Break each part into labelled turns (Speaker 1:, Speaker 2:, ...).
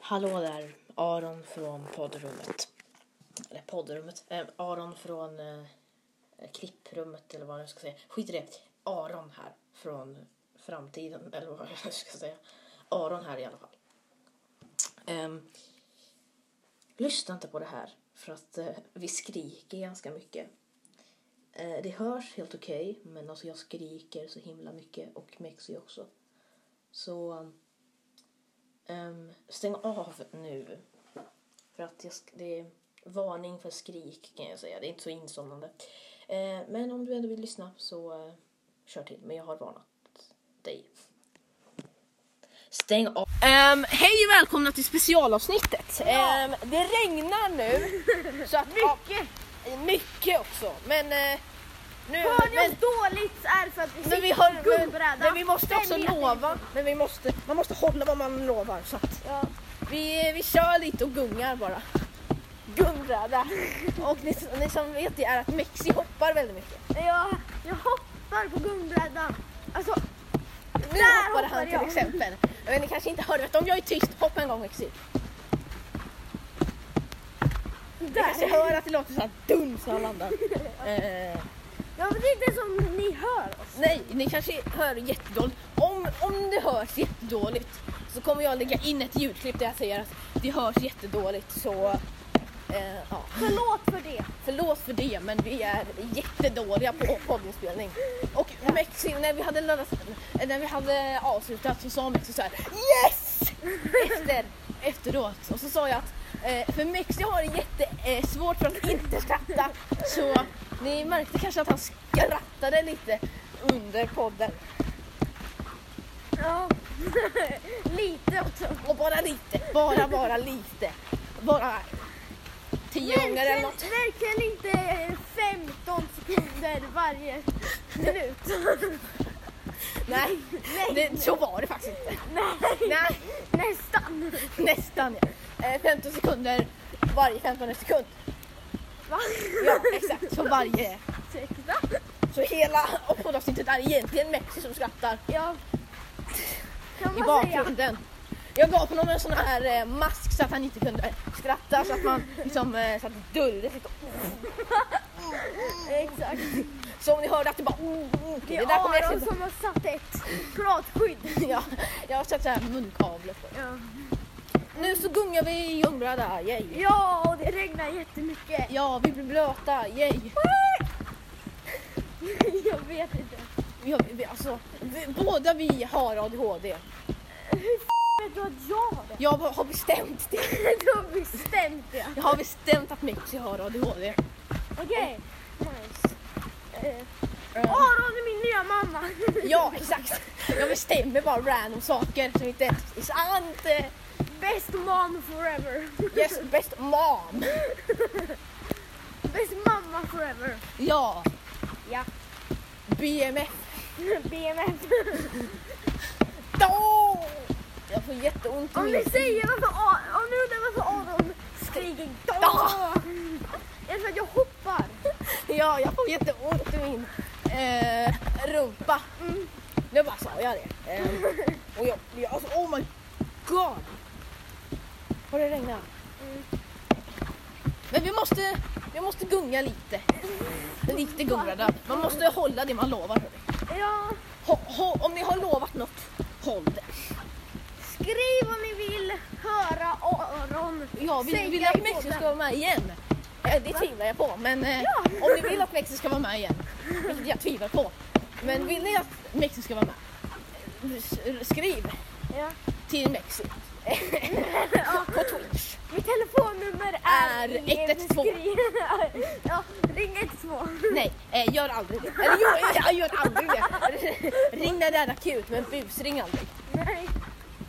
Speaker 1: Hallå där, Aron från poddrummet. Eller poddrummet, eh, Aron från eh, klipprummet eller vad jag ska säga. Skit i det. Aron här från framtiden eller vad jag ska säga. Aron här i alla fall. Ehm, lyssna inte på det här för att eh, vi skriker ganska mycket. Eh, det hörs helt okej men alltså jag skriker så himla mycket och Mexi också. Så... Ehm, stäng av nu. För att jag sk- det är varning för skrik kan jag säga. Det är inte så insomnande. Eh, men om du ändå vill lyssna så eh, kör till. Men jag har varnat dig. Stäng av. Ehm, hej och välkomna till specialavsnittet. Ehm, det regnar nu. så att, mycket. mycket också. Men eh, nu...
Speaker 2: Hör ni
Speaker 1: men-
Speaker 2: oss dåligt så är det för att vi
Speaker 1: men
Speaker 2: sitter
Speaker 1: vi,
Speaker 2: på
Speaker 1: har,
Speaker 2: en
Speaker 1: men,
Speaker 2: guldbräda.
Speaker 1: men vi måste också
Speaker 2: Den är
Speaker 1: lova. Men vi måste, man måste hålla vad man lovar. Så att
Speaker 2: Ja.
Speaker 1: vi, vi kör lite och gungar bara. Gungbräda. Och ni, ni som vet det är att Mexi hoppar väldigt mycket.
Speaker 2: Jag, jag hoppar på guldbrädan. Alltså,
Speaker 1: Nu
Speaker 2: Där
Speaker 1: hoppade
Speaker 2: hoppar
Speaker 1: han till
Speaker 2: jag.
Speaker 1: exempel. Men ni kanske inte hörde. vet du, Om jag är tyst, hoppa en gång Mexi. Ni kanske hör att det låter såhär duns när han landar. Eh,
Speaker 2: jag vet inte ens om ni hör oss.
Speaker 1: nej, ni kanske hör jättedåligt. Om, om det hörs jättedåligt så kommer jag lägga in ett ljudklipp där jag säger att det hörs jättedåligt så eh, ja.
Speaker 2: Förlåt för det.
Speaker 1: Förlåt för det, men vi är jättedåliga på poddinspelning. Och Mexi, när vi hade, lördags, när vi hade avslutat så sa Mexi så här Yes! Efter, efteråt. Och så sa jag att eh, för Mexi har det jättesvårt för att inte skratta. Så ni märkte kanske att han skrattade lite under podden.
Speaker 2: Ja. Lite också.
Speaker 1: Och bara lite, bara, bara lite. Bara tio gånger eller
Speaker 2: Verkligen,
Speaker 1: något.
Speaker 2: verkligen inte 15 sekunder varje minut.
Speaker 1: Nej, det, så var det faktiskt inte.
Speaker 2: Nej,
Speaker 1: Nej.
Speaker 2: nästan.
Speaker 1: Nästan ja. Eh, 15 sekunder varje 15 sekund.
Speaker 2: Va?
Speaker 1: Ja, exakt. Så varje.
Speaker 2: Ursäkta?
Speaker 1: Så hela poddavsnittet är egentligen Mexi som skrattar
Speaker 2: Jag kan
Speaker 1: i
Speaker 2: bara säga.
Speaker 1: bakgrunden. Jag gav honom en sån här eh, mask så att han inte kunde skratta så att man liksom eh, så att det döljde sitt.
Speaker 2: Exakt.
Speaker 1: Så om ni hörde att det bara oh, oh,
Speaker 2: Det
Speaker 1: okej, det där
Speaker 2: är
Speaker 1: kommer jag
Speaker 2: Aron
Speaker 1: inte...
Speaker 2: som har satt ett pratskydd.
Speaker 1: Ja, jag har satt så här munkavle på.
Speaker 2: Ja.
Speaker 1: Nu så gungar vi i Ljungbrada, yay!
Speaker 2: Ja, och det regnar jättemycket.
Speaker 1: Ja, vi blir blöta, yay!
Speaker 2: Jag vet inte.
Speaker 1: Ja, vi, alltså, vi, båda vi har ADHD.
Speaker 2: Hur f vet du att jag har det?
Speaker 1: Jag har bestämt det.
Speaker 2: Du har bestämt det.
Speaker 1: Jag har bestämt att Mexi har ADHD.
Speaker 2: Okej. Nice. Eh,
Speaker 1: Eh,
Speaker 2: Aron är min nya mamma.
Speaker 1: Ja, exakt. Jag bestämmer bara random saker som inte är sant. Eh,
Speaker 2: Best mom forever.
Speaker 1: Yes, best mom.
Speaker 2: Best mamma forever.
Speaker 1: Ja,
Speaker 2: Ja.
Speaker 1: BMF.
Speaker 2: BMF.
Speaker 1: Då! Jag får jätteont i
Speaker 2: Om ni
Speaker 1: min...
Speaker 2: säger varför Aron... Om ni undrar varför Aron skriker då.
Speaker 1: Da!
Speaker 2: Är det för att jag hoppar?
Speaker 1: Ja, jag får jätteont i min eh, rumpa.
Speaker 2: Mm.
Speaker 1: Nu bara sa jag det. Eh, och jag, jag alltså, oh my god. Har det regnat?
Speaker 2: Mm.
Speaker 1: Men vi måste, vi måste gunga lite. Lite gunga. Man måste hålla det man lovar. hörru.
Speaker 2: Ja.
Speaker 1: Ho, ho, om ni har lovat något, håll det.
Speaker 2: Skriv om ni vill höra Aron
Speaker 1: Ja, vi
Speaker 2: säga
Speaker 1: vill
Speaker 2: i
Speaker 1: att Mexiko
Speaker 2: podden.
Speaker 1: ska vara med igen. Eh, Det tvivlar jag på, men eh,
Speaker 2: Ja.
Speaker 1: om ni vill att Mexiko ska vara med igen, vilket jag tvivlar på. Men vill ni att Mexiko ska vara med, eh, s- skriv
Speaker 2: Ja.
Speaker 1: till Mexiko. på Twitch.
Speaker 2: Mitt telefonnummer är,
Speaker 1: Är 112.
Speaker 2: ja, ring 112.
Speaker 1: Nej, eh, gör aldrig det. Eller jo, eh, jag gör aldrig det. Ring när det är akut, men busring aldrig.
Speaker 2: Nej.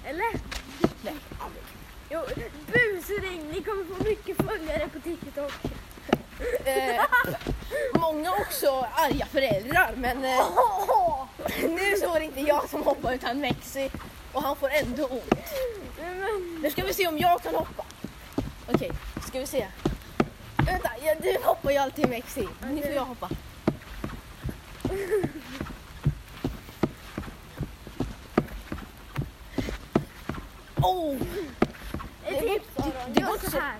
Speaker 2: Eller?
Speaker 1: Nej, aldrig.
Speaker 2: Jo, busring. Ni kommer få mycket följare på TikTok.
Speaker 1: Eh, många också arga föräldrar, men eh,
Speaker 2: Åh!
Speaker 1: Nu så var det inte jag som hoppade utan Mexi och han får ändå ont.
Speaker 2: Nej, men,
Speaker 1: Nu ska vi se om jag kan hoppa. Okej, ska vi se. Vänta, ja, du hoppar ju alltid Mexi. Nu får jag hoppa. Oh,
Speaker 2: jag så här.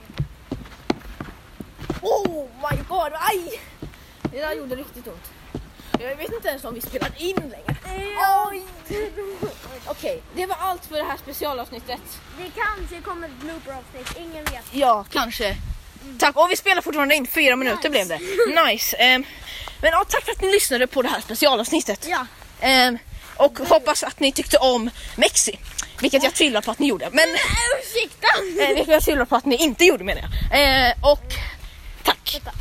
Speaker 1: Oh my god, aj! Det där gjorde riktigt ont. Jag vet inte ens om vi spelar in längre. Oj! Okej, det var allt för det här specialavsnittet.
Speaker 2: Det kanske kommer ett blooper-avsnitt, ingen vet.
Speaker 1: Ja, kanske. Tack, och vi spelar fortfarande in, fyra minuter blev det. Nice. ehm, men ja, tack för att ni lyssnade på det här specialavsnittet.
Speaker 2: Ja.
Speaker 1: Ehm, och hoppas att ni tyckte om Mexi, vilket jag tvivlar på att ni gjorde. Men
Speaker 2: Mm. Ursäkta!
Speaker 1: eh, vilket jag tvivlar på att ni inte gjorde menar jag. Eh, och tack.
Speaker 2: Vänta.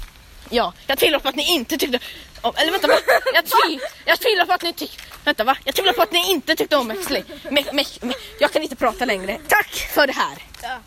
Speaker 1: Ja, jag tvivlar på att ni inte tyckte om, eller vänta va? Jag, tvi, jag tvivlar på att ni tyckte, vänta va? Jag tvivlar på att ni inte tyckte om Mexi. Me, me, me, jag kan inte prata längre. Tack för det här.
Speaker 2: Ja.